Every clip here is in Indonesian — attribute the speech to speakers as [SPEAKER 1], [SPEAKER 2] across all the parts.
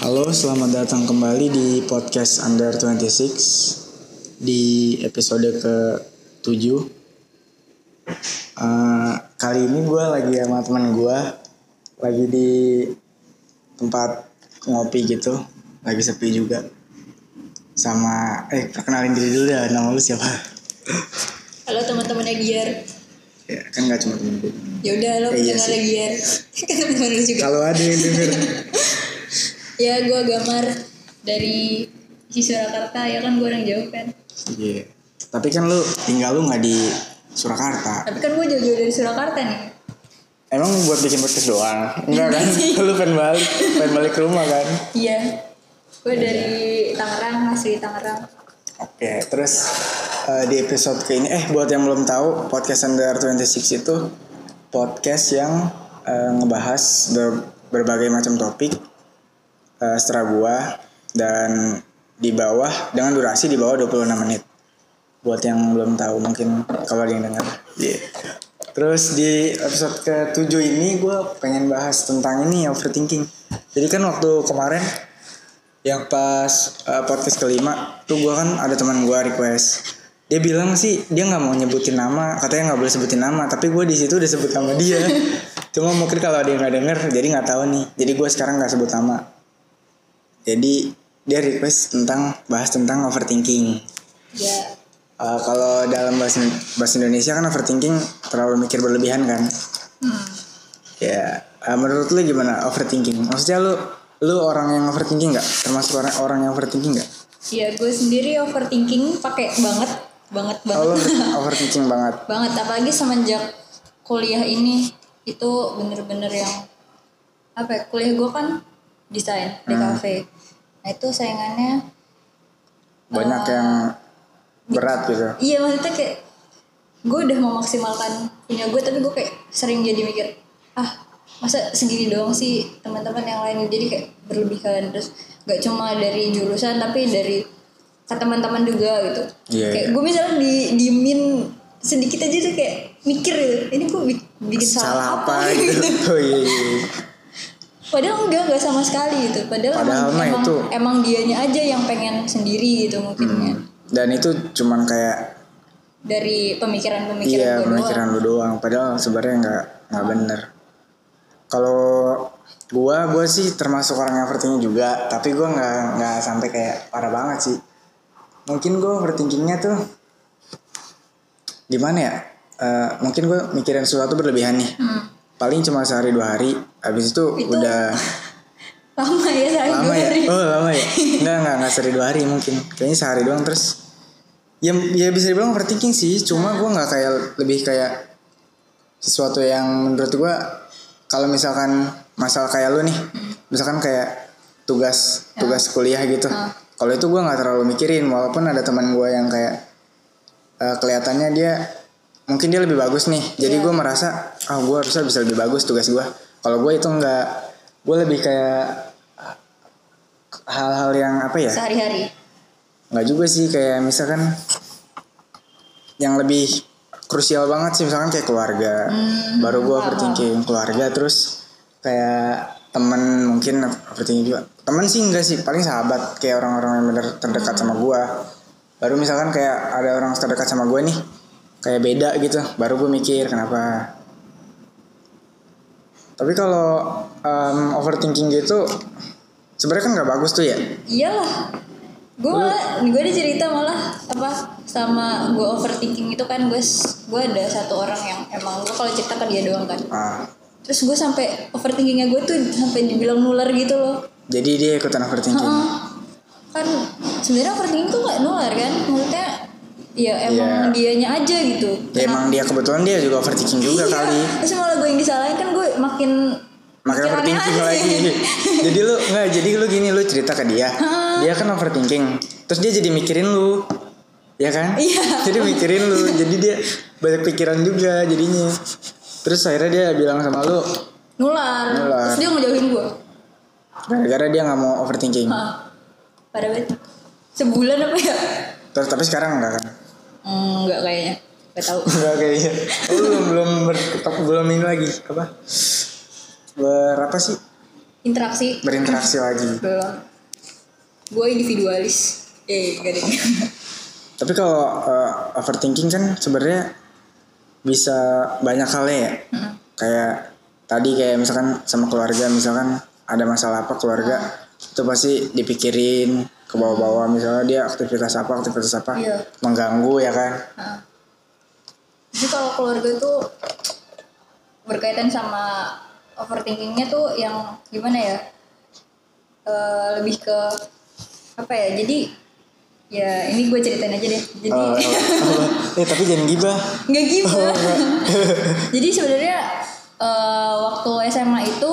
[SPEAKER 1] Halo, selamat datang kembali di podcast Under 26 di episode ke-7. Eh, kali ini gue lagi sama teman gue, lagi di tempat ngopi gitu, lagi sepi juga. Sama, eh perkenalin diri dulu ya, nama lu siapa?
[SPEAKER 2] Halo teman-teman Agiar.
[SPEAKER 1] Ya, kan gak cuma temen gue.
[SPEAKER 2] Ya udah lo
[SPEAKER 1] Eh, iya
[SPEAKER 2] pendengar
[SPEAKER 1] sih.
[SPEAKER 2] Agiar. Kan teman-teman lu juga.
[SPEAKER 1] Kalau ada yang denger,
[SPEAKER 2] Ya gue Gamar dari di Surakarta ya kan gue orang jauh kan.
[SPEAKER 1] Iya. Tapi kan lu tinggal lu nggak di Surakarta.
[SPEAKER 2] Tapi kan gue jauh-jauh dari Surakarta nih.
[SPEAKER 1] Emang buat bikin podcast doang? Enggak kan? lu pengen balik, pengen balik ke rumah kan?
[SPEAKER 2] Iya. Gue
[SPEAKER 1] Iya.
[SPEAKER 2] dari Tangerang asli Tangerang.
[SPEAKER 1] Oke, terus eh, di episode ke ini, eh buat yang belum tahu, podcast Under 26 itu podcast yang eh, ngebahas ber- berbagai macam topik eh setelah gua dan di bawah dengan durasi di bawah 26 menit. Buat yang belum tahu mungkin kalau ada yang dengar. Iya. Terus di episode ke-7 ini gua pengen bahas tentang ini overthinking. Jadi kan waktu kemarin yang pas eh, podcast kelima tuh gua kan ada teman gua request dia bilang sih dia nggak mau nyebutin nama katanya nggak boleh sebutin nama tapi gue di situ udah sebut nama dia cuma mungkin kalau ada yang nggak denger jadi nggak tahu nih jadi gue sekarang nggak sebut nama jadi dia request tentang bahas tentang overthinking
[SPEAKER 2] Ya.
[SPEAKER 1] Eh, kalau dalam bahasa bahasa Indonesia kan overthinking terlalu mikir berlebihan kan
[SPEAKER 2] Hmm.
[SPEAKER 1] ya eh, menurut lu gimana overthinking maksudnya lu lu orang yang overthinking nggak termasuk orang orang yang overthinking nggak
[SPEAKER 2] Ya gue sendiri overthinking pakai banget banget banget.
[SPEAKER 1] Oh, lu overthinking banget.
[SPEAKER 2] banget apalagi semenjak kuliah ini itu bener-bener yang apa ya kuliah gue kan desain di
[SPEAKER 1] Hmm.
[SPEAKER 2] kafe nah itu saingannya
[SPEAKER 1] Banyak yang berat gitu.
[SPEAKER 2] iya maksudnya kayak gue udah memaksimalkan punya gue tapi gue kayak sering jadi mikir ah masa segini doang sih teman-teman yang lain jadi kayak berlebihan terus gak cuma dari jurusan tapi dari ke teman-teman juga gitu
[SPEAKER 1] Iya,
[SPEAKER 2] kayak
[SPEAKER 1] iya.
[SPEAKER 2] gue misalnya di diemin sedikit aja tuh kayak mikir gitu ini gue bi- bikin
[SPEAKER 1] Salah apa gitu. Oh, iya, iya, iya.
[SPEAKER 2] Padahal enggak, enggak sama sekali gitu. Padahal,
[SPEAKER 1] Padahal
[SPEAKER 2] emang,
[SPEAKER 1] mah
[SPEAKER 2] emang,
[SPEAKER 1] itu-
[SPEAKER 2] emang dianya aja yang pengen sendiri gitu mungkinnya.
[SPEAKER 1] Dan itu cuman kayak
[SPEAKER 2] Dari pemikiran-pemikiran
[SPEAKER 1] iya
[SPEAKER 2] gue doang.
[SPEAKER 1] pemikiran lu doang. Padahal sebenarnya nggak nggak bener. Kalau gua gua sih termasuk orang yang overthinking juga, tapi gua nggak nggak sampai kayak parah banget sih. Mungkin gua overthinkingnya tuh gimana ya? Eh, mungkin gue mikirin sesuatu berlebihan nih.
[SPEAKER 2] Hmm.
[SPEAKER 1] Paling cuma sehari dua hari, habis itu
[SPEAKER 2] Itu-
[SPEAKER 1] udah
[SPEAKER 2] Lama ya sehari
[SPEAKER 1] lama
[SPEAKER 2] dua
[SPEAKER 1] ya
[SPEAKER 2] hari.
[SPEAKER 1] oh lama ya nggak nggak nggak sehari dua hari mungkin kayaknya sehari doang terus ya ya bisa dibilang overthinking sih cuma gua nggak kayak lebih kayak sesuatu yang menurut gua kalau misalkan masalah kayak lu nih misalkan kayak tugas tugas
[SPEAKER 2] Ya.
[SPEAKER 1] kuliah gitu
[SPEAKER 2] Oh.
[SPEAKER 1] kalau itu gua nggak terlalu mikirin walaupun ada teman gua yang kayak eh, kelihatannya dia mungkin dia lebih bagus nih jadi gua merasa ah gua harusnya bisa lebih bagus tugas gua kalau gua itu nggak gua lebih kayak hal-hal yang apa ya
[SPEAKER 2] Sehari-hari.
[SPEAKER 1] nggak juga sih kayak misalkan yang lebih krusial banget sih misalkan kayak keluarga
[SPEAKER 2] Hmm,
[SPEAKER 1] baru gue
[SPEAKER 2] paham.
[SPEAKER 1] overthinking keluarga terus kayak temen mungkin overthinking juga temen sih enggak sih paling sahabat kayak orang-orang yang bener terdekat sama gue baru misalkan kayak ada orang terdekat sama gue nih kayak beda gitu baru gue mikir kenapa tapi kalau em, overthinking gitu sebenarnya kan nggak bagus tuh ya
[SPEAKER 2] Iyalah. Gue malah, gue ada cerita malah apa sama gue overthinking itu kan gue s- gue ada satu orang yang emang gue kalau cerita ke dia doang kan.
[SPEAKER 1] Ah,
[SPEAKER 2] Terus gue sampai overthinkingnya gue tuh sampai dibilang nular gitu loh.
[SPEAKER 1] Jadi dia ikutan overthinking.
[SPEAKER 2] Heeh. kan sebenarnya overthinking tuh nggak nular kan maksudnya ya
[SPEAKER 1] Iya.
[SPEAKER 2] emang dianya aja gitu
[SPEAKER 1] Ya, emang dia kebetulan dia juga overthinking juga
[SPEAKER 2] Iya.
[SPEAKER 1] kali.
[SPEAKER 2] terus malah gue yang disalahin kan gue makin
[SPEAKER 1] Makanya overthinking
[SPEAKER 2] aneh-aneh.
[SPEAKER 1] lagi. jadi lu nggak jadi lu gini lu cerita ke dia. dia kan overthinking. Terus dia jadi mikirin lu. Ya kan?
[SPEAKER 2] Iya.
[SPEAKER 1] Jadi mikirin lu. jadi dia banyak pikiran juga jadinya. Terus akhirnya dia bilang sama lu
[SPEAKER 2] nular.
[SPEAKER 1] Nular.
[SPEAKER 2] terus dia ngejauhin gue
[SPEAKER 1] gara-gara dia nggak mau overthinking.
[SPEAKER 2] Heeh. pada banget sebulan apa ya
[SPEAKER 1] Terus tapi sekarang enggak kan?
[SPEAKER 2] hmm, nggak kayaknya nggak tahu
[SPEAKER 1] Enggak kayaknya. Lu belum belum ber- belum ini lagi apa? Berapa sih?
[SPEAKER 2] interaksi
[SPEAKER 1] Berinteraksi lagi.
[SPEAKER 2] belum gue individualis eh gak ada
[SPEAKER 1] Tapi kalau eh, overthinking kan sebenarnya bisa banyak halnya ya. Kayak tadi kayak misalkan sama keluarga misalkan ada masalah apa keluarga
[SPEAKER 2] Mm.
[SPEAKER 1] itu pasti dipikirin ke bawah-bawah misalnya dia aktivitas apa aktivitas apa
[SPEAKER 2] Iya.
[SPEAKER 1] mengganggu ya kan.
[SPEAKER 2] jadi kalau keluarga itu berkaitan sama overthinkingnya tuh yang gimana ya Eh, lebih ke apa ya jadi ya ini gue ceritain aja deh jadi
[SPEAKER 1] Eh, eh tapi jangan gibah.
[SPEAKER 2] nggak
[SPEAKER 1] Oh,
[SPEAKER 2] gibah jadi sebenarnya eh, waktu SMA itu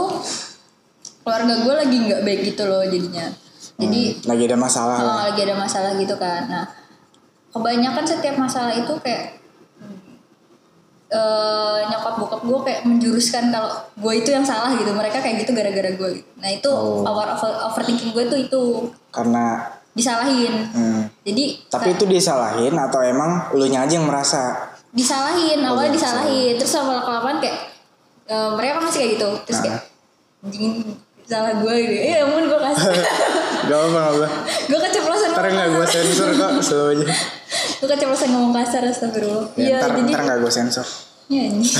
[SPEAKER 2] keluarga gue lagi nggak baik gitu loh jadinya jadi
[SPEAKER 1] Hmm, lagi ada masalah lah.
[SPEAKER 2] Oh, lagi ada masalah gitu kan. Nah, kebanyakan setiap masalah itu kayak eh nyokap bokap gue kayak menjuruskan kalau gue itu yang salah gitu. Mereka kayak gitu gara-gara gue. Nah, itu
[SPEAKER 1] Oh.
[SPEAKER 2] power over, overthinking gue tuh itu
[SPEAKER 1] karena
[SPEAKER 2] disalahin.
[SPEAKER 1] hmm,
[SPEAKER 2] Jadi
[SPEAKER 1] tapi
[SPEAKER 2] ka-
[SPEAKER 1] itu disalahin atau emang elunya aja yang merasa
[SPEAKER 2] disalahin,
[SPEAKER 1] Oh,
[SPEAKER 2] awalnya disalahin. Terus lama kelamaan kayak eh, mereka masih kayak gitu. Terus kayak "Anjing, salah gue gitu. Eh, ampun gue kasih.
[SPEAKER 1] gak apa gak apa
[SPEAKER 2] gue keceplosan.
[SPEAKER 1] ntar nggak gue sensor kok slow aja
[SPEAKER 2] Gue keceplosan ngomong kasar astagfirullah.
[SPEAKER 1] ya,
[SPEAKER 2] Iya,
[SPEAKER 1] ntar
[SPEAKER 2] jadi
[SPEAKER 1] ntar nggak gue sensor
[SPEAKER 2] Iya anjing.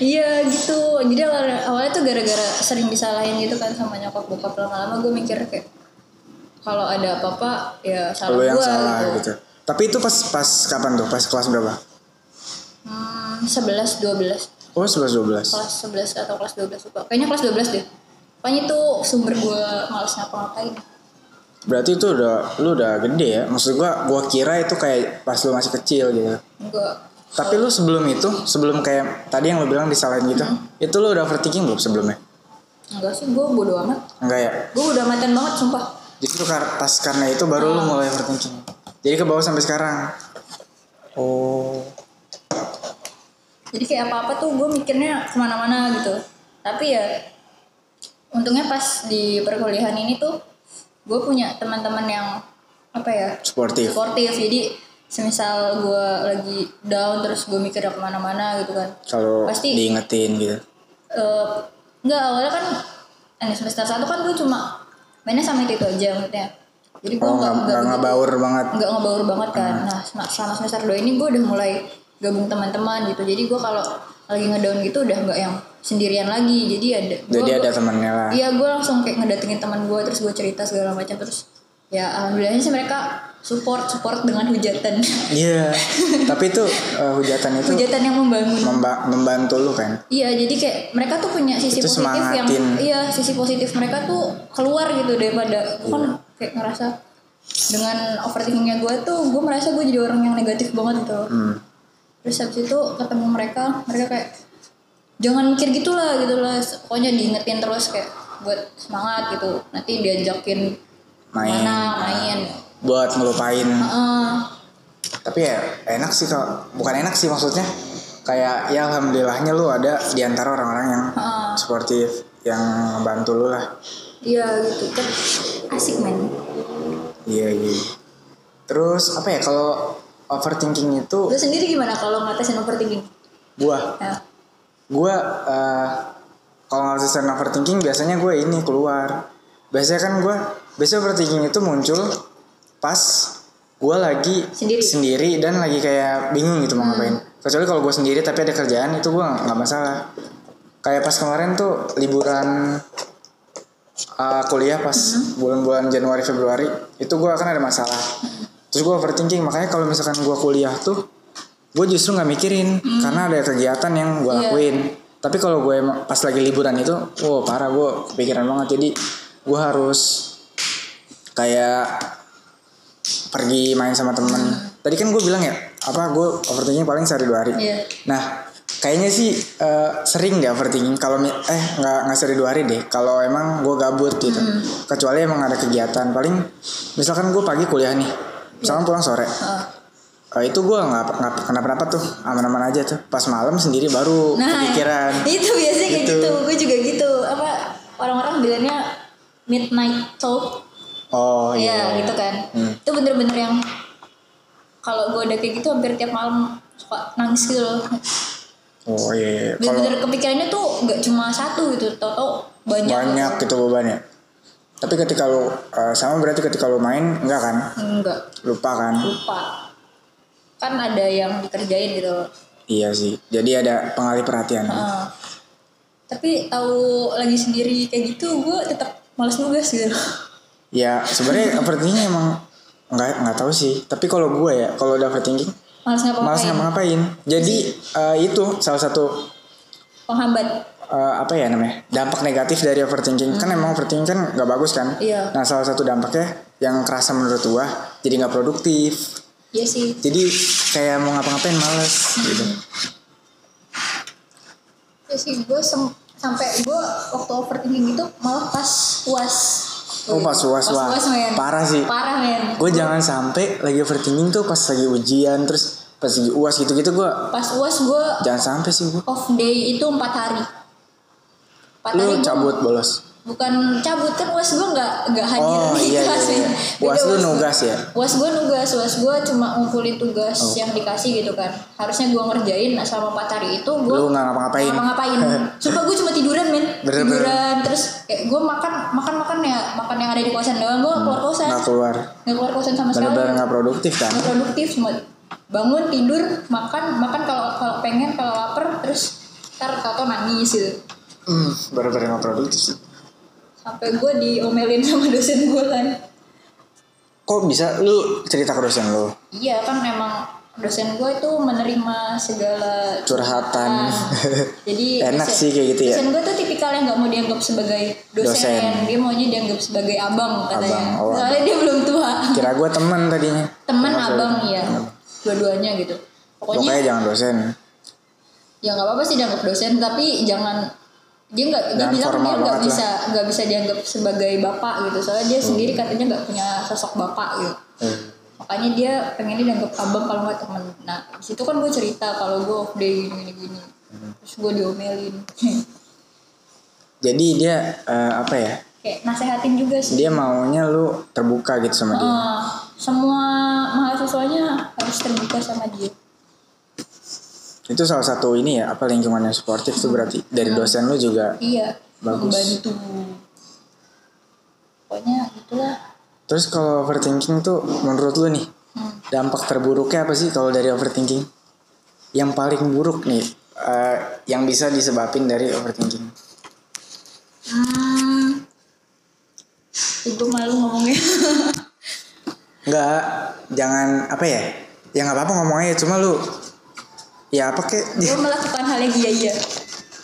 [SPEAKER 2] Iya gitu. Jadi awal- awalnya tuh gara-gara sering disalahin gitu kan sama nyokap bokap lama-lama gue mikir kayak kalau ada apa-apa ya
[SPEAKER 1] lu
[SPEAKER 2] salah gue.
[SPEAKER 1] yang salah gitu tapi itu pas pas kapan tuh pas kelas berapa
[SPEAKER 2] Hmm, 11 12
[SPEAKER 1] oh sebelas dua belas
[SPEAKER 2] kelas 11 atau kelas 12 lupa. Kayaknya kelas 12 deh. Pokoknya itu sumber gue males ngapa-ngapain.
[SPEAKER 1] berarti itu udah lu udah gede ya maksud gue gue kira itu kayak pas lu masih kecil gitu
[SPEAKER 2] Gue
[SPEAKER 1] tapi lu sebelum itu sebelum kayak tadi yang lu bilang disalahin gitu itu lu udah overthinking belum sebelumnya
[SPEAKER 2] enggak sih gue bodo amat.
[SPEAKER 1] enggak ya
[SPEAKER 2] Gue bodo amatan banget sumpah.
[SPEAKER 1] Justru kar- pas karena itu baru lu mulai overthinking. Jadi ke bawah sampai sekarang. Oh.
[SPEAKER 2] jadi kayak apa-apa tuh gue mikirnya kemana-mana gitu tapi ya untungnya pas di perkuliahan ini tuh gue punya teman-teman yang apa ya
[SPEAKER 1] Sportif.
[SPEAKER 2] sportif jadi semisal gue lagi down terus gue mikirnya kemana-mana gitu kan
[SPEAKER 1] Kalau
[SPEAKER 2] Pasti.
[SPEAKER 1] diingetin gitu.
[SPEAKER 2] Eh, nggak awalnya kan eh, semester satu kan gue cuma mainnya sama itu, itu aja maksudnya jadi gue
[SPEAKER 1] Oh,
[SPEAKER 2] nggak
[SPEAKER 1] nggak
[SPEAKER 2] nggak
[SPEAKER 1] nggak
[SPEAKER 2] begitu-
[SPEAKER 1] ngebaur Hmm. banget.
[SPEAKER 2] nggak ngebaur banget kan nah sem- selama semester 2 ini gue udah mulai gabung teman-teman gitu jadi gue kalau lagi ngedown gitu udah nggak yang sendirian lagi jadi ada gua-
[SPEAKER 1] Jadi ada
[SPEAKER 2] gua-
[SPEAKER 1] temannya lah.
[SPEAKER 2] iya gue langsung kayak ngedatengin teman gue terus gue cerita segala macam terus ya alhamdulillahnya sih mereka support support dengan hujatan
[SPEAKER 1] Iya. Tapi itu eh, hujatan itu
[SPEAKER 2] hujatan yang membangun
[SPEAKER 1] memba- membantu lu kan.
[SPEAKER 2] Iya, jadi kayak mereka tuh punya sisi
[SPEAKER 1] Itu
[SPEAKER 2] positif yang
[SPEAKER 1] semangatin.
[SPEAKER 2] iya, sisi positif mereka tuh keluar gitu daripada gua kan
[SPEAKER 1] Iya.
[SPEAKER 2] kayak ngerasa dengan overthinkingnya gue tuh gue merasa gue jadi orang yang negatif banget gitu.
[SPEAKER 1] Hmm.
[SPEAKER 2] Terus habis itu ketemu mereka, mereka kayak jangan mikir gitulah gitu lah. Pokoknya diingetin terus kayak buat semangat gitu. Nanti diajakin
[SPEAKER 1] Main.
[SPEAKER 2] mana main.
[SPEAKER 1] Buat ngelupain.
[SPEAKER 2] Heeh.
[SPEAKER 1] Tapi ya enak sih kalau bukan enak sih maksudnya kayak ya alhamdulillahnya lu ada di antara orang-orang yang
[SPEAKER 2] Heeh.
[SPEAKER 1] sportif yang ngebantu lu lah.
[SPEAKER 2] Iya gitu. Kan asik men.
[SPEAKER 1] Iya, iya. Terus apa ya kalau overthinking itu
[SPEAKER 2] Lu sendiri gimana kalau ngatasin overthinking?
[SPEAKER 1] buah
[SPEAKER 2] Ya.
[SPEAKER 1] gue eh kalau ngatasin overthinking biasanya gue ini keluar biasanya kan gue biasanya overthinking itu muncul pas gue lagi
[SPEAKER 2] Sendiri.
[SPEAKER 1] dan lagi kayak bingung gitu mau ngapain kecuali kalau gue sendiri tapi ada kerjaan itu gue nggak masalah kayak pas kemarin tuh liburan eh, kuliah pas bulan-bulan Januari Februari itu gue akan ada masalah terus gue overthinking makanya kalau misalkan gue kuliah tuh gue justru nggak mikirin karena ada kegiatan yang gue
[SPEAKER 2] Iya.
[SPEAKER 1] lakuin tapi kalau gue emang- pas lagi liburan itu wow parah gue kepikiran banget jadi gue harus kayak pergi main sama temen tadi kan gue bilang ya apa gue overthinking paling sehari dua hari
[SPEAKER 2] Iya.
[SPEAKER 1] Nah, kayaknya sih eh, sering deh overthinking kalau mi- eh nggak nggak sering dua hari deh. Kalau emang gue gabut gitu,
[SPEAKER 2] Hmm.
[SPEAKER 1] kecuali emang ada kegiatan. Paling misalkan gue pagi kuliah nih, misalkan pulang sore.
[SPEAKER 2] Heeh.
[SPEAKER 1] Eh, itu gue nggak nggak kenapa-napa tuh aman-aman aja tuh. Pas malam sendiri baru
[SPEAKER 2] Nah.
[SPEAKER 1] kepikiran.
[SPEAKER 2] itu biasanya kayak
[SPEAKER 1] Gitu.
[SPEAKER 2] gitu gue juga gitu apa orang-orang bilangnya midnight talk
[SPEAKER 1] Oh
[SPEAKER 2] ya
[SPEAKER 1] iya.
[SPEAKER 2] gitu kan
[SPEAKER 1] Hmm.
[SPEAKER 2] itu bener-bener yang kalau gue udah kayak gitu hampir tiap malam suka nangis gitu loh
[SPEAKER 1] Oh iya. iya. Kalau
[SPEAKER 2] bener-bener kepikirannya tuh gak cuma satu gitu tau-tau banyak,
[SPEAKER 1] banyak gitu bebannya. Tapi ketika lu eh, sama berarti ketika lu main enggak kan?
[SPEAKER 2] enggak
[SPEAKER 1] Lupa kan?
[SPEAKER 2] lupa kan ada yang dikerjain gitu
[SPEAKER 1] Iya sih. Jadi ada pengalih perhatian.
[SPEAKER 2] Heeh. tapi tahu lagi sendiri kayak gitu gue tetap males nugas gitu
[SPEAKER 1] Ya sebenarnya overthinking emang nggak nggak tahu sih. Tapi kalau gue ya kalau udah overthinking
[SPEAKER 2] males
[SPEAKER 1] malas
[SPEAKER 2] ngapa-ngapain
[SPEAKER 1] ngapa-ngapain. Jadi eh, itu salah satu
[SPEAKER 2] penghambat
[SPEAKER 1] eh, apa ya namanya dampak negatif dari overthinking kan emang overthinking kan nggak bagus kan
[SPEAKER 2] Iya.
[SPEAKER 1] nah salah satu dampaknya yang kerasa menurut gua jadi nggak produktif
[SPEAKER 2] iya sih
[SPEAKER 1] jadi kayak mau ngapa-ngapain males gitu
[SPEAKER 2] iya sih gue sampai gue waktu overthinking itu malah pas uas
[SPEAKER 1] Oh, pas UAS, wah.
[SPEAKER 2] men.
[SPEAKER 1] Parah sih.
[SPEAKER 2] parah men
[SPEAKER 1] gue jangan sampai lagi overthinking tuh pas lagi ujian terus pas lagi uas gitu-gitu gua
[SPEAKER 2] pas uas gue
[SPEAKER 1] jangan sampai sih gua
[SPEAKER 2] off day itu empat hari empat hari
[SPEAKER 1] lu
[SPEAKER 2] gua-
[SPEAKER 1] cabut bolos
[SPEAKER 2] bukan cabut kan uas gue nggak nggak hadir
[SPEAKER 1] oh
[SPEAKER 2] di
[SPEAKER 1] iya iya,
[SPEAKER 2] kelas
[SPEAKER 1] iya.
[SPEAKER 2] men. Beda
[SPEAKER 1] uas lu
[SPEAKER 2] gua.
[SPEAKER 1] nugas ya Oh.
[SPEAKER 2] Was gue nugas, was gue cuma ngumpulin tugas yang dikasih gitu kan. Harusnya gue ngerjain nah, selama 4 hari itu gue
[SPEAKER 1] Lu nggak ngapa-ngapain.
[SPEAKER 2] Ngapa-ngapain. Sumpah gue cuma tiduran men.
[SPEAKER 1] Bener,
[SPEAKER 2] tiduran terus kayak gue makan makan makan ya makan yang ada di kosan doang gue keluar kosan.
[SPEAKER 1] nggak keluar
[SPEAKER 2] Nggak keluar kosan sama sekali.
[SPEAKER 1] benar-benar nggak produktif kan
[SPEAKER 2] Nggak produktif cuma bangun tidur makan makan kalau kalau pengen kalau lapar terus ntar tau nangis gitu
[SPEAKER 1] hmm, benar-benar nggak produktif sih
[SPEAKER 2] sampai gue diomelin sama dosen gue kan
[SPEAKER 1] kok bisa lu cerita ke dosen lu
[SPEAKER 2] Iya kan emang dosen gue itu menerima segala Ah,
[SPEAKER 1] Curhatan.
[SPEAKER 2] Jadi
[SPEAKER 1] Enak sih kayak gitu ya.
[SPEAKER 2] Dosen gue tuh tipikal yang nggak mau dianggap sebagai dosen.
[SPEAKER 1] Dosen.
[SPEAKER 2] Dia maunya dianggap sebagai abang katanya.
[SPEAKER 1] Abang, oh,
[SPEAKER 2] Soalnya dia belum tua.
[SPEAKER 1] kira gue teman tadinya
[SPEAKER 2] Temen
[SPEAKER 1] Maksud-
[SPEAKER 2] abang ya, dua-duanya gitu.
[SPEAKER 1] Iya. pokoknya,
[SPEAKER 2] Pokoknya
[SPEAKER 1] jangan dosen
[SPEAKER 2] ya nggak apa-apa sih dianggap dosen tapi jangan dia nggak dia
[SPEAKER 1] Jangan
[SPEAKER 2] bilang
[SPEAKER 1] formal
[SPEAKER 2] dia nggak
[SPEAKER 1] banget
[SPEAKER 2] bisa nggak bisa dianggap sebagai bapak gitu soalnya dia sendiri katanya nggak punya sosok bapak gitu
[SPEAKER 1] Eh,
[SPEAKER 2] makanya dia pengennya dianggap abang kalau nggak temen nah di situ kan gue cerita kalau gue off day gini gini, gini. terus gue diomelin
[SPEAKER 1] jadi dia eh, apa ya
[SPEAKER 2] kayak nasehatin juga sih
[SPEAKER 1] dia maunya lu terbuka gitu sama dia
[SPEAKER 2] Eh, semua mahasiswanya harus terbuka sama dia
[SPEAKER 1] itu salah satu ini ya apa lingkungan yang suportif tuh berarti dari dosen lu juga
[SPEAKER 2] iya
[SPEAKER 1] Bagus.
[SPEAKER 2] membantu pokoknya gitulah
[SPEAKER 1] terus kalau overthinking tuh menurut lu nih
[SPEAKER 2] Hmm.
[SPEAKER 1] dampak terburuknya apa sih kalau dari overthinking yang paling buruk nih eh, yang bisa disebabin dari overthinking
[SPEAKER 2] hmm. Ih, gue malu ngomongnya
[SPEAKER 1] Enggak, jangan apa ya? Ya nggak apa-apa ngomong aja, cuma lu ya apa kek?
[SPEAKER 2] gue melakukan hal yang iya iya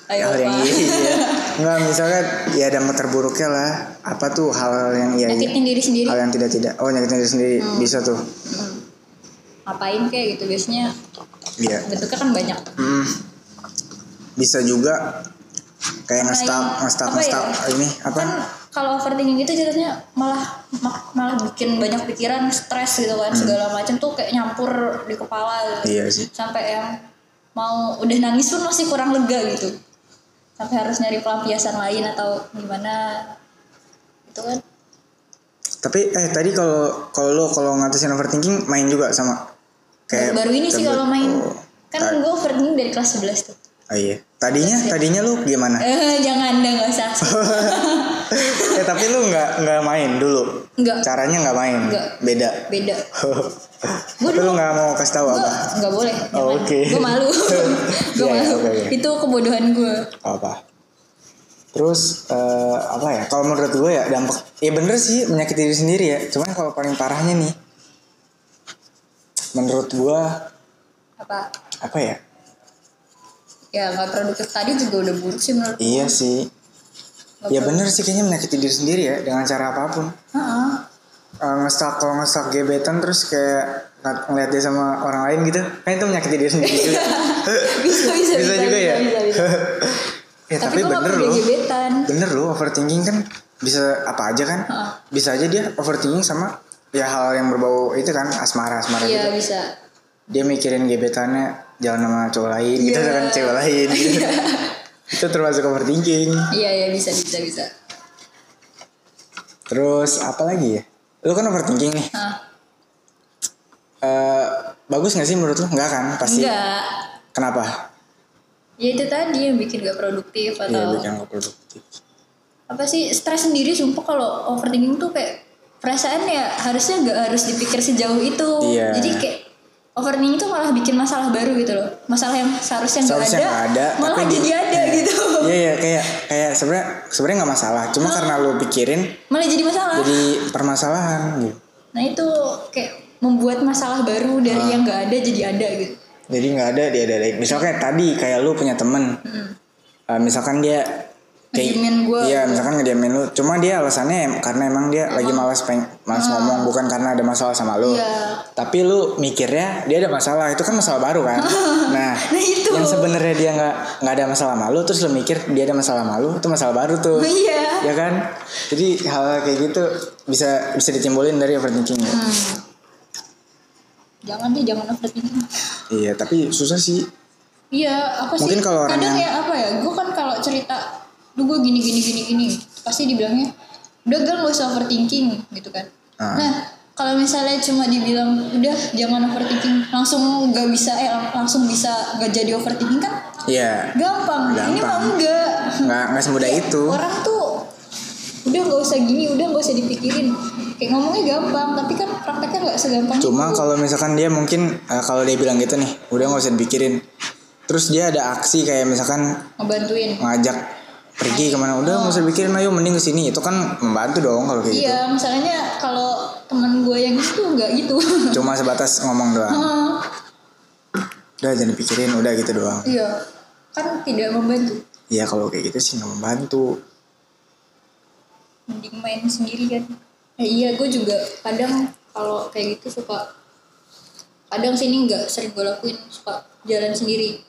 [SPEAKER 2] ayo
[SPEAKER 1] Hal
[SPEAKER 2] apa
[SPEAKER 1] yang iya, iya. Enggak, misalkan ya dampak terburuknya lah. Apa tuh hal yang iya? iya?
[SPEAKER 2] nyakitin diri sendiri
[SPEAKER 1] Hal yang tidak tidak. Oh nyakitin diri sendiri bisa tuh.
[SPEAKER 2] Hmm. ngapain kayak gitu biasanya
[SPEAKER 1] Iya.
[SPEAKER 2] bentuknya kan banyak
[SPEAKER 1] Mm. Bisa juga kayak nge-stuck,
[SPEAKER 2] Kayak
[SPEAKER 1] nge-stuck,
[SPEAKER 2] apa ya?
[SPEAKER 1] nge-stuck ini apa?
[SPEAKER 2] kan kalau overthinking itu jadinya malah ma- malah bikin banyak pikiran stres gitu kan segala macam tuh kayak nyampur di kepala gitu.
[SPEAKER 1] Hmm. Iya sih.
[SPEAKER 2] sampai yang mau udah nangis pun masih kurang lega gitu sampai harus nyari pelampiasan lain atau gimana itu kan
[SPEAKER 1] Tapi eh tadi kalau kalau lu kalau ngatasin overthinking main juga sama kayak
[SPEAKER 2] baru ini sih
[SPEAKER 1] tablet.
[SPEAKER 2] kalau main
[SPEAKER 1] Oh.
[SPEAKER 2] kan gue overthinking dari kelas 11 tuh
[SPEAKER 1] Oh iya. Tadinya tadinya lu gimana?
[SPEAKER 2] eh jangan deh nggak usah
[SPEAKER 1] eh tapi lu nggak nggak main dulu
[SPEAKER 2] nggak
[SPEAKER 1] caranya nggak main
[SPEAKER 2] Nggak.
[SPEAKER 1] beda
[SPEAKER 2] beda Gua
[SPEAKER 1] tapi lu nggak mau kasih tahu apa
[SPEAKER 2] Gua- nggak boleh
[SPEAKER 1] Oh, oke.
[SPEAKER 2] gue malu gue
[SPEAKER 1] Iya, iya,
[SPEAKER 2] malu
[SPEAKER 1] oke, oke.
[SPEAKER 2] itu kebodohan gue
[SPEAKER 1] apa terus eh, apa ya kalau menurut gue ya dampak ya bener sih menyakiti diri sendiri ya cuman kalau paling parahnya nih menurut gue
[SPEAKER 2] apa
[SPEAKER 1] apa ya
[SPEAKER 2] ya nggak produktif tadi juga udah buruk sih menurut
[SPEAKER 1] iya sih
[SPEAKER 2] Nggak
[SPEAKER 1] ya bener sih kayaknya menyakiti diri sendiri ya dengan cara apapun
[SPEAKER 2] Heeh.
[SPEAKER 1] Eh, ngestak kalau ngestak gebetan terus kayak ng- ngeliat dia sama orang lain gitu kan itu menyakiti diri sendiri juga
[SPEAKER 2] bisa, bisa
[SPEAKER 1] bisa juga ya
[SPEAKER 2] bisa, bisa.
[SPEAKER 1] ya
[SPEAKER 2] tapi,
[SPEAKER 1] tapi,
[SPEAKER 2] gue nggak
[SPEAKER 1] bener
[SPEAKER 2] perlu
[SPEAKER 1] loh
[SPEAKER 2] gebetan
[SPEAKER 1] bener loh overthinking kan bisa apa aja kan
[SPEAKER 2] Heeh.
[SPEAKER 1] bisa aja dia overthinking sama ya hal yang berbau itu kan asmara asmara
[SPEAKER 2] iya
[SPEAKER 1] gitu
[SPEAKER 2] bisa
[SPEAKER 1] dia mikirin gebetannya jalan sama cowok lain gitu
[SPEAKER 2] Iya.
[SPEAKER 1] dengan cewek lain gitu. itu termasuk overthinking
[SPEAKER 2] iya iya bisa bisa bisa
[SPEAKER 1] terus apa lagi ya lu kan overthinking nih
[SPEAKER 2] Hah.
[SPEAKER 1] Eh, bagus gak sih menurut lu Enggak kan pasti
[SPEAKER 2] enggak
[SPEAKER 1] kenapa
[SPEAKER 2] ya itu tadi yang bikin gak produktif
[SPEAKER 1] iya
[SPEAKER 2] atau
[SPEAKER 1] bikin nggak produktif
[SPEAKER 2] apa sih stres sendiri sumpah kalau overthinking tuh kayak perasaan ya harusnya nggak harus dipikir sejauh itu
[SPEAKER 1] Iya.
[SPEAKER 2] jadi kayak overthinking tuh malah bikin masalah baru gitu loh masalah yang seharusnya nggak
[SPEAKER 1] Seharusnya
[SPEAKER 2] ada,
[SPEAKER 1] nggak ada,
[SPEAKER 2] malah
[SPEAKER 1] tapi di-
[SPEAKER 2] jadi ada gitu
[SPEAKER 1] Iya iya kayak kayak sebenarnya sebenarnya nggak masalah. Cuma karena lu pikirin
[SPEAKER 2] malah jadi masalah
[SPEAKER 1] jadi permasalahan gitu.
[SPEAKER 2] nah itu kayak membuat masalah baru dari
[SPEAKER 1] Ah.
[SPEAKER 2] yang nggak ada jadi ada gitu
[SPEAKER 1] Jadi nggak ada dia ada. Misalnya kayak tadi kayak lu punya temen, Eh, misalkan dia
[SPEAKER 2] Ngediemin Hmm. gua.
[SPEAKER 1] Iya misalkan ngediamin lu. Cuma dia alasannya em- karena emang dia lagi malas peng malas ngomong bukan karena ada masalah sama lu.
[SPEAKER 2] Hmm. Iya.
[SPEAKER 1] Tapi lu mikirnya dia ada masalah itu kan masalah baru kan. nah,
[SPEAKER 2] Nah, itu.
[SPEAKER 1] yang sebenarnya dia nggak nggak ada masalah sama lu terus lu mikir dia ada masalah sama lu itu masalah baru tuh.
[SPEAKER 2] iya
[SPEAKER 1] ya kan jadi hal kayak gitu bisa bisa ditimbulin dari overthinking ya?
[SPEAKER 2] Hmm. jangan deh jangan overthinking
[SPEAKER 1] iya tapi susah sih
[SPEAKER 2] iya apa sih
[SPEAKER 1] Mungkin kalau orang
[SPEAKER 2] kadang
[SPEAKER 1] yang-
[SPEAKER 2] ya apa ya gue kan kalau cerita lu gue gini gini gini gini pasti dibilangnya udah gal gak usah overthinking gitu kan
[SPEAKER 1] Ah.
[SPEAKER 2] nah kalau misalnya cuma dibilang udah jangan overthinking langsung gak bisa eh lang- langsung bisa gak jadi overthinking kan
[SPEAKER 1] iya
[SPEAKER 2] gampang, ini
[SPEAKER 1] Gampang.
[SPEAKER 2] mah enggak
[SPEAKER 1] nggak nggak semudah
[SPEAKER 2] Iya.
[SPEAKER 1] itu
[SPEAKER 2] orang tuh udah nggak usah gini udah nggak usah dipikirin kayak ngomongnya gampang tapi kan prakteknya nggak segampang
[SPEAKER 1] cuma
[SPEAKER 2] itu.
[SPEAKER 1] kalau misalkan dia mungkin eh, kalau dia bilang gitu nih udah nggak usah dipikirin terus dia ada aksi kayak misalkan
[SPEAKER 2] ngebantuin
[SPEAKER 1] ngajak pergi kemana udah nggak usah pikirin ayo mending kesini itu kan membantu dong kalau kayak gitu.
[SPEAKER 2] iya misalnya kalau teman gue yang itu nggak gitu Ah,
[SPEAKER 1] gitu cuma sebatas ngomong doang
[SPEAKER 2] Heeh,
[SPEAKER 1] udah jangan dipikirin udah gitu doang
[SPEAKER 2] iya kan tidak membantu
[SPEAKER 1] iya kalau kayak gitu sih nggak membantu
[SPEAKER 2] mending main sendirian nah, iya gue juga kadang kalau kayak gitu suka kadang sini nggak sering gue lakuin suka jalan sendiri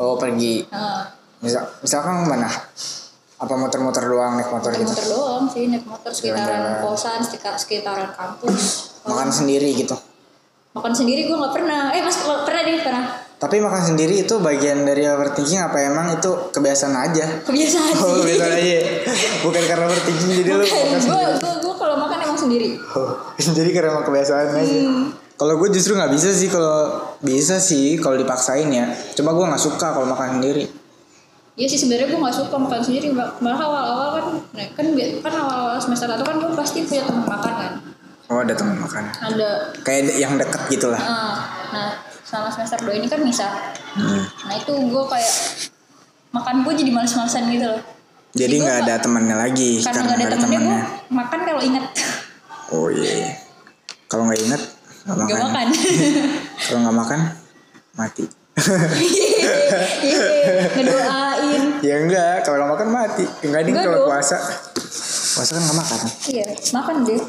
[SPEAKER 1] oh pergi
[SPEAKER 2] nah,
[SPEAKER 1] Misal, misalkan mana? Apa muter-muter doang naik motor gitu?
[SPEAKER 2] naik motor doang sih naik motor sekitaran
[SPEAKER 1] Jalan-jalan.
[SPEAKER 2] kosan sekitar- sekitaran kampus
[SPEAKER 1] Makan sendiri gitu.
[SPEAKER 2] makan sendiri gue nggak pernah eh mas pernah deh pernah
[SPEAKER 1] Tapi makan sendiri itu bagian dari overthinking apa emang itu kebiasaan aja?
[SPEAKER 2] kebiasaan
[SPEAKER 1] Oh,
[SPEAKER 2] sih
[SPEAKER 1] kebiasaan aja. Bukan karena overthinking jadi lu makan
[SPEAKER 2] gue
[SPEAKER 1] sendiri.
[SPEAKER 2] gue gue kalau makan emang sendiri
[SPEAKER 1] Oh, jadi karena emang kebiasaan aja.
[SPEAKER 2] Hmm.
[SPEAKER 1] Kalau gue justru nggak bisa sih kalau bisa sih kalau dipaksain ya. Cuma gue nggak suka kalau makan sendiri.
[SPEAKER 2] Iya sih sebenarnya gue nggak suka makan sendiri Mbak. malah awal-awal kan nah, kan bi- kan awal-awal semester satu kan gue pasti punya teman makan kan
[SPEAKER 1] Oh ada teman makan.
[SPEAKER 2] ada
[SPEAKER 1] Kayak de- yang deket gitulah.
[SPEAKER 2] eh, nah sama semester 2 ini kan misah
[SPEAKER 1] Hmm.
[SPEAKER 2] nah itu gue kayak makan gue jadi males-malesan gitu loh
[SPEAKER 1] Jadi
[SPEAKER 2] Jadi gua
[SPEAKER 1] nggak ada temannya lagi
[SPEAKER 2] karena nggak ada temennya gue makan kalau inget
[SPEAKER 1] Oh iya. Kalau nggak inget nggak
[SPEAKER 2] nggak
[SPEAKER 1] makan.
[SPEAKER 2] makan
[SPEAKER 1] Kalau nggak makan mati.
[SPEAKER 2] Yeay, Iya, ngedoain
[SPEAKER 1] Ya enggak, kalau nggak makan mati. Enggak ding
[SPEAKER 2] Enggak
[SPEAKER 1] kalau
[SPEAKER 2] dong.
[SPEAKER 1] puasa. Puasa kan nggak makan.
[SPEAKER 2] Iya, makan deh.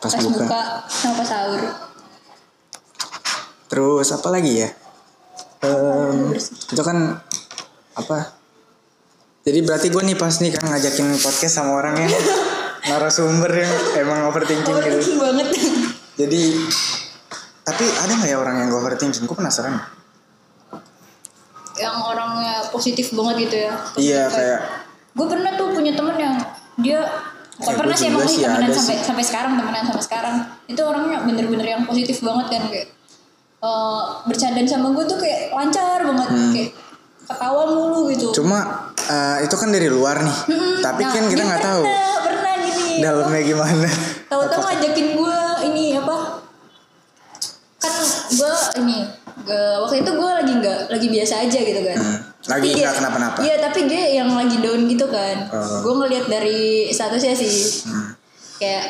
[SPEAKER 1] Pas
[SPEAKER 2] Pas,
[SPEAKER 1] buka.
[SPEAKER 2] buka. sama pas sahur.
[SPEAKER 1] Terus apa lagi ya? Em, itu kan apa? Jadi berarti gue nih pas nih kan ngajakin podcast sama orang yang narasumber yang emang overthinking gitu.
[SPEAKER 2] Overthinking banget.
[SPEAKER 1] Jadi tapi ada nggak ya orang yang gak overthinking? Gue penasaran.
[SPEAKER 2] yang orangnya positif banget gitu ya.
[SPEAKER 1] Iya kayak
[SPEAKER 2] Gue pernah tuh punya temen yang dia
[SPEAKER 1] Eh,
[SPEAKER 2] Bukan pernah
[SPEAKER 1] gua
[SPEAKER 2] sih
[SPEAKER 1] juga
[SPEAKER 2] emang
[SPEAKER 1] sih
[SPEAKER 2] masih temenan
[SPEAKER 1] ada
[SPEAKER 2] sampai sampai sekarang temenan sampai sekarang itu orangnya bener-bener yang positif banget kan kayak eh bercandaan sama gue tuh kayak lancar banget kayak ketawa mulu gitu.
[SPEAKER 1] Hmm. cuma eh, itu kan dari luar nih.
[SPEAKER 2] Mm-mm.
[SPEAKER 1] Tapi
[SPEAKER 2] Nah,
[SPEAKER 1] kan kita
[SPEAKER 2] dia
[SPEAKER 1] nggak tahu
[SPEAKER 2] Pernah pernah gini.
[SPEAKER 1] dalamnya gimana.
[SPEAKER 2] tahu-tahu ngajakin gue ini apa kan gue ini gua- waktu itu gue lagi nggak lagi biasa aja gitu kan
[SPEAKER 1] Hmm, lagi
[SPEAKER 2] Tapi dia-
[SPEAKER 1] nggak kenapa-napa.
[SPEAKER 2] iya tapi dia yang lagi down gitu kan
[SPEAKER 1] Oh.
[SPEAKER 2] gue ngelihat dari statusnya sih
[SPEAKER 1] Hmm,
[SPEAKER 2] kayak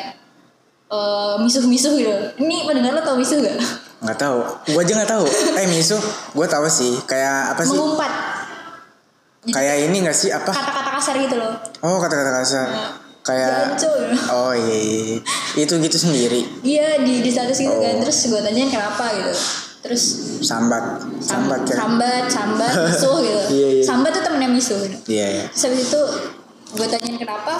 [SPEAKER 2] eh, misuh-misuh gitu ini pendengar lo tau misuh gak
[SPEAKER 1] nggak tahu gue aja nggak tahu eh misu gue tahu sih kayak apa sih
[SPEAKER 2] mengumpat
[SPEAKER 1] kayak ini nggak sih apa
[SPEAKER 2] kata-kata kasar gitu loh
[SPEAKER 1] oh kata-kata kasar
[SPEAKER 2] Iya.
[SPEAKER 1] kayak
[SPEAKER 2] Jancu, gitu.
[SPEAKER 1] oh iya, iya, iya. itu gitu sendiri
[SPEAKER 2] iya di, di status gitu
[SPEAKER 1] Oh.
[SPEAKER 2] kan terus gue tanyain kenapa gitu terus
[SPEAKER 1] sambat
[SPEAKER 2] sam-
[SPEAKER 1] sambat ya
[SPEAKER 2] sambat sambat misuh gitu
[SPEAKER 1] Iya, iya.
[SPEAKER 2] sambat tuh temennya misuh gitu.
[SPEAKER 1] iya iya
[SPEAKER 2] Terus habis itu gue tanyain kenapa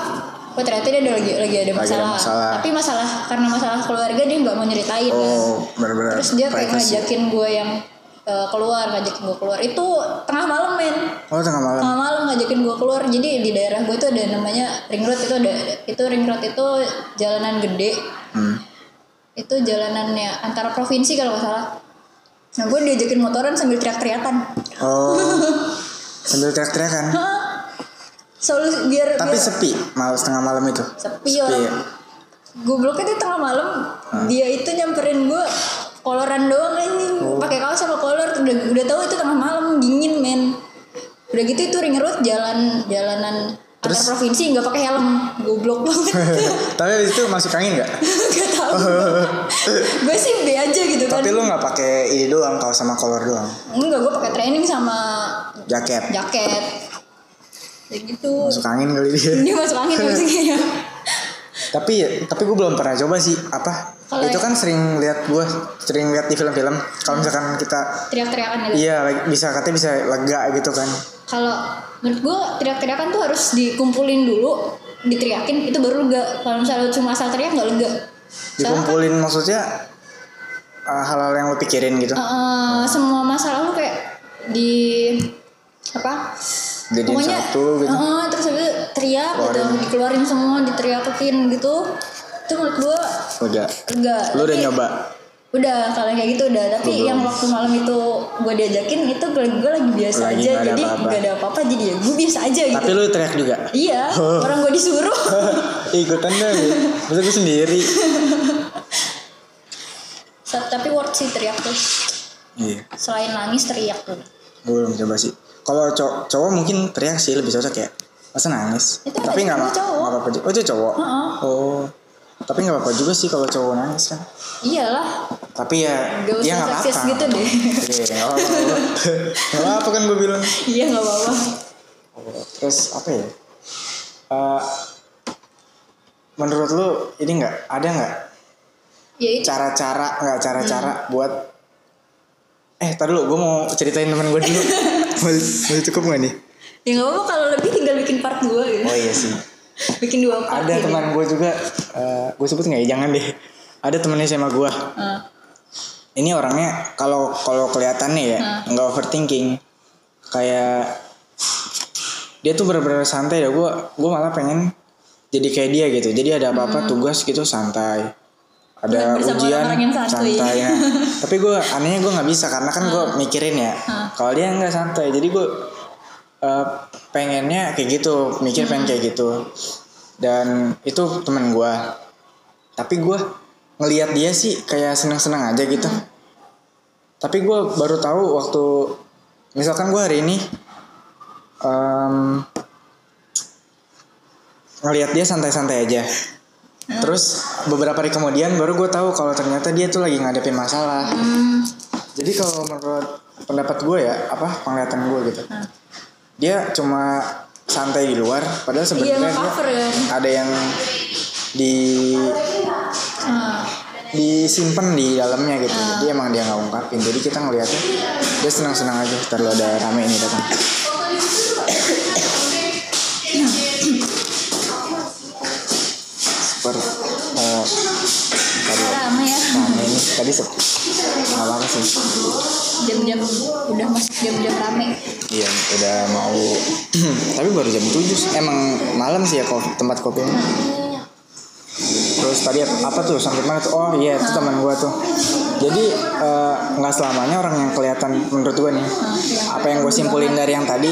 [SPEAKER 2] Oh ternyata dia ada lagi, lagi ada
[SPEAKER 1] ada
[SPEAKER 2] masalah.
[SPEAKER 1] masalah.
[SPEAKER 2] Tapi masalah karena masalah keluarga dia nggak mau nyeritain kan.
[SPEAKER 1] oh benar-benar
[SPEAKER 2] Terus dia kayak
[SPEAKER 1] privacy.
[SPEAKER 2] ngajakin gue yang eh, keluar, ngajakin gue keluar. Itu tengah malam men.
[SPEAKER 1] oh tengah malam
[SPEAKER 2] Tengah malam ngajakin gue keluar. Jadi di daerah gue tuh ada namanya ring road itu ada itu ring road itu jalanan gede.
[SPEAKER 1] hmm.
[SPEAKER 2] Itu jalanannya antara provinsi kalau nggak salah. Nah gue diajakin motoran sambil teriak-teriakan.
[SPEAKER 1] oh sambil teriak-teriakan
[SPEAKER 2] Hah? solusi biar
[SPEAKER 1] Tapi ya?
[SPEAKER 2] biar-
[SPEAKER 1] sepi malam setengah malam itu. Iya.
[SPEAKER 2] sepi orang gobloknya tuh tengah malam dia itu nyamperin gue koloran doang anjing pakai kaos sama kolor udah udah tahu itu tengah malam dingin men udah gitu itu ring road jalan jalanan antar provinsi nggak pakai helm goblok banget
[SPEAKER 1] Tapi abis itu masuk angin nggak?
[SPEAKER 2] nggak tahu gue sih B aja gitu kan
[SPEAKER 1] Tapi lu nggak pakai ini doang kaos sama kolor doang.
[SPEAKER 2] enggak gue pakai training sama
[SPEAKER 1] Jaket.
[SPEAKER 2] jaket kayak gitu
[SPEAKER 1] Masuk angin kali dia.
[SPEAKER 2] dia masuk angin abis itu ya
[SPEAKER 1] tapi tapi gue belum pernah coba sih apa
[SPEAKER 2] Kalau
[SPEAKER 1] itu
[SPEAKER 2] yang-
[SPEAKER 1] kan sering lihat gue sering lihat di film-film kalau misalkan kita
[SPEAKER 2] teriak-teriakan gitu
[SPEAKER 1] iya like, bisa katanya bisa lega gitu kan
[SPEAKER 2] kalau menurut gue teriak-teriakan tuh harus dikumpulin dulu diteriakin itu baru lega kalau misalnya lu cuma asal teriak nggak lega soalnya kan,
[SPEAKER 1] dikumpulin maksudnya uh, hal-hal yang lo pikirin gitu
[SPEAKER 2] eh, semua masalah lu kayak di apa
[SPEAKER 1] Jadiin satu gitu.
[SPEAKER 2] eh, terus habis itu teriak gitu
[SPEAKER 1] Keluarin.
[SPEAKER 2] dikeluarin semua diteriakin gitu itu menurut gue
[SPEAKER 1] lega
[SPEAKER 2] lega
[SPEAKER 1] lu udah
[SPEAKER 2] Tapi-
[SPEAKER 1] nyoba
[SPEAKER 2] udah kalau yang kayak gitu udah tapi
[SPEAKER 1] Belum.
[SPEAKER 2] yang waktu malam itu gue diajakin itu gue lagi biasa
[SPEAKER 1] Lagi
[SPEAKER 2] aja
[SPEAKER 1] nggak ada
[SPEAKER 2] jadi
[SPEAKER 1] apa-apa.
[SPEAKER 2] gak ada apa-apa jadi ya gue biasa aja gitu
[SPEAKER 1] tapi lu teriak juga
[SPEAKER 2] Iya, orang gue disuruh.
[SPEAKER 1] ikutan deh maksud gue sendiri
[SPEAKER 2] Sa- Tapi worth sih teriak tuh.
[SPEAKER 1] iya
[SPEAKER 2] Selain nangis teriak tuh.
[SPEAKER 1] gue belum coba sih kalau cow- cowok mungkin teriak sih lebih cocok ya masa nangis
[SPEAKER 2] Itu kan
[SPEAKER 1] tapi nggak ma-
[SPEAKER 2] ada juga cowok.
[SPEAKER 1] nggak apa-apa juga oh itu cowok
[SPEAKER 2] Heeh.
[SPEAKER 1] oh tapi nggak apa-apa juga sih kalau cowok nangis kan
[SPEAKER 2] Iyalah,
[SPEAKER 1] tapi ya
[SPEAKER 2] Gak usah
[SPEAKER 1] ya nggak
[SPEAKER 2] seksis
[SPEAKER 1] apa-apa
[SPEAKER 2] gitu deh.
[SPEAKER 1] Iya, nggak apa-apa Nggak apa-apa kan gue bilang
[SPEAKER 2] iya nggak apa-apa.
[SPEAKER 1] terus apa ya Eh, menurut lu ini nggak ada nggak
[SPEAKER 2] Ya itu.
[SPEAKER 1] cara-cara nggak cara-cara buat eh tar dulu gue mau ceritain temen gue dulu Mau- mau cukup nggak nih
[SPEAKER 2] Ya nggak apa-apa kalau lebih tinggal bikin part dua gitu.
[SPEAKER 1] oh iya sih
[SPEAKER 2] Bikin dua part.
[SPEAKER 1] ada
[SPEAKER 2] gitu.
[SPEAKER 1] teman gue juga eh, gue sebut nggak ya jangan deh ada temennya sama gue
[SPEAKER 2] Ah,
[SPEAKER 1] ini orangnya kalau kalau kelihatannya ya nggak overthinking kayak dia tuh bener-bener santai ya gue gue malah pengen jadi kayak dia gitu jadi ada apa-apa tugas gitu santai ada
[SPEAKER 2] Bersama
[SPEAKER 1] ujian
[SPEAKER 2] Hmm. orang-orang yang santuy.
[SPEAKER 1] santai ya. tapi gue anehnya gue nggak bisa karena kan gue mikirin ya kalau dia nggak santai jadi gue eh, pengennya kayak gitu mikir pengen kayak gitu dan itu temen gue tapi gue ngelihat dia sih kayak seneng-seneng aja gitu tapi gue baru tahu waktu misalkan gue hari ini em, ngelihat dia santai-santai aja
[SPEAKER 2] Hmm.
[SPEAKER 1] terus beberapa hari kemudian baru gue tahu kalau ternyata dia tuh lagi ngadepin masalah
[SPEAKER 2] hmm,
[SPEAKER 1] jadi kalau menurut pendapat gue ya apa penglihatan gue gitu
[SPEAKER 2] Hmm.
[SPEAKER 1] dia cuma santai di luar padahal
[SPEAKER 2] iya
[SPEAKER 1] sebenarnya
[SPEAKER 2] nggak
[SPEAKER 1] dia
[SPEAKER 2] cover kan.
[SPEAKER 1] ada yang di
[SPEAKER 2] Ah,
[SPEAKER 1] disimpan di dalamnya gitu
[SPEAKER 2] Hmm.
[SPEAKER 1] jadi emang dia nggak ungkapin jadi kita ngeliatnya dia senang senang aja terlalu ada rame ini datang super eh, tadi
[SPEAKER 2] lama ya.
[SPEAKER 1] rame Nah, ini tadi sep nggak apa sih
[SPEAKER 2] Jam-jam udah masuk jam-jam rame.
[SPEAKER 1] iya udah mau tapi baru jam 7 emang malam sih ya ko- tempat kopinya terus tadi apa tuh sampai mana tuh oh iya itu teman gue tuh jadi eh, nggak selamanya orang yang kelihatan menurut gue nih apa yang gue simpulin dari yang tadi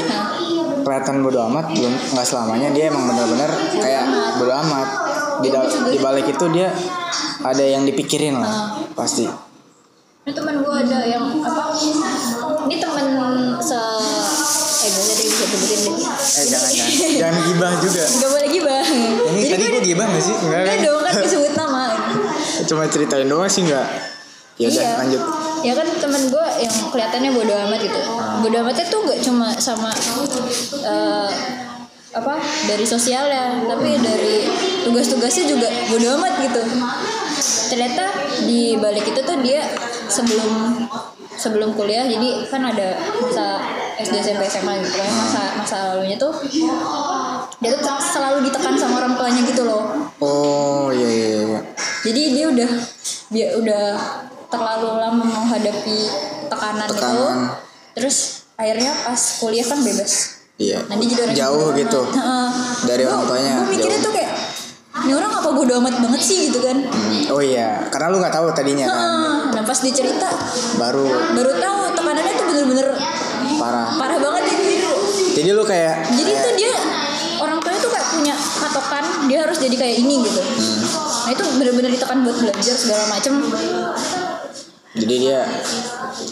[SPEAKER 1] kelihatan bodo amat belum nggak selamanya dia emang bener-bener kayak bodo amat di dal- di balik itu dia ada yang dipikirin lah pasti
[SPEAKER 2] Ini teman gue ada yang apa? Ini teman se eh gak usah deh bisa sebutin deh.
[SPEAKER 1] eh jangan jangan jangan gibah juga
[SPEAKER 2] Gak boleh gibah.
[SPEAKER 1] ini
[SPEAKER 2] Jadi
[SPEAKER 1] tadi
[SPEAKER 2] gue
[SPEAKER 1] gue gibah gak sih enggak
[SPEAKER 2] udah
[SPEAKER 1] kan
[SPEAKER 2] dong kan disebut nama.
[SPEAKER 1] cuma ceritain doang sih enggak ya udah
[SPEAKER 2] Iya.
[SPEAKER 1] lanjut
[SPEAKER 2] Ya kan teman gue yang kelihatannya bodoh amat gitu.
[SPEAKER 1] Ah.
[SPEAKER 2] Bodoh amatnya tuh gak cuma sama eh, apa dari sosialnya, tapi dari tugas-tugasnya juga bodoh amat gitu. Ternyata di balik itu tuh dia sebelum sebelum kuliah jadi kan ada masa SD SMP SMA gitu kan masa masa lalunya tuh dia tuh selalu ditekan sama orang tuanya gitu loh
[SPEAKER 1] oh iya iya iya
[SPEAKER 2] jadi dia udah dia udah terlalu lama menghadapi tekanan, itu
[SPEAKER 1] Tekanan.
[SPEAKER 2] terus akhirnya pas kuliah kan bebas
[SPEAKER 1] iya
[SPEAKER 2] nanti jadi orang
[SPEAKER 1] jauh gitu dari orang tuanya
[SPEAKER 2] gue mikirnya
[SPEAKER 1] jauh.
[SPEAKER 2] tuh kayak ini orang apa bodo amat banget sih gitu kan
[SPEAKER 1] Oh iya, karena lu nggak tahu tadinya kan,
[SPEAKER 2] Heeh. nah pas dicerita
[SPEAKER 1] baru
[SPEAKER 2] baru tahu tekanannya tuh bener-bener
[SPEAKER 1] parah.
[SPEAKER 2] parah banget ya gitu.
[SPEAKER 1] Jadi lu kayak
[SPEAKER 2] jadi tuh dia orang punya patokan dia harus jadi kayak ini gitu
[SPEAKER 1] Hmm.
[SPEAKER 2] nah itu bener-bener ditekan buat belajar segala macem
[SPEAKER 1] jadi dia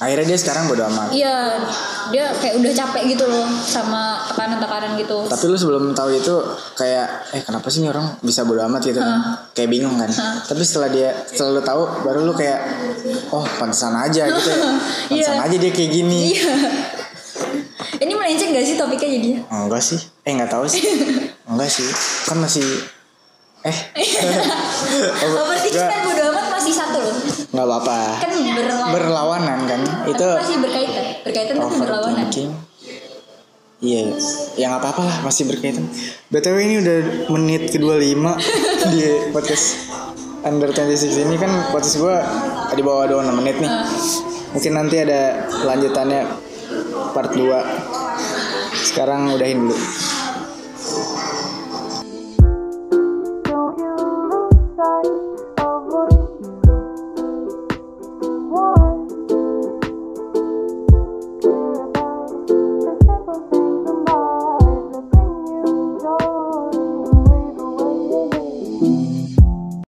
[SPEAKER 1] akhirnya dia sekarang bodo amat
[SPEAKER 2] iya dia kayak udah capek gitu loh sama tekanan-tekanan gitu
[SPEAKER 1] tapi lu sebelum tahu itu kayak eh kenapa sih ini orang bisa bodo amat gitu kan kayak bingung kan
[SPEAKER 2] Hah.
[SPEAKER 1] tapi setelah dia setelah lu tahu baru lu kayak oh pantesan aja gitu ya pantesan
[SPEAKER 2] Iya.
[SPEAKER 1] aja dia kayak gini
[SPEAKER 2] iya ini melenceng gak sih topiknya jadinya
[SPEAKER 1] enggak sih eh nggak tahu sih enggak sih kan masih eh Oh,
[SPEAKER 2] overthinking
[SPEAKER 1] enggak
[SPEAKER 2] kan bodo amat masih satu loh
[SPEAKER 1] nggak apa-apa
[SPEAKER 2] kan berlawan
[SPEAKER 1] berlawanan kan itu Oh,
[SPEAKER 2] tapi masih berkaitan berkaitan tapi berlawanan
[SPEAKER 1] overthinking Iya, yang apa-apa lah masih berkaitan. BTW ini udah menit ke-25 di podcast Under 26 ini kan podcast gue di bawah 26 menit nih.
[SPEAKER 2] Ah.
[SPEAKER 1] Mungkin nanti ada lanjutannya part 2. Sekarang udahin dulu.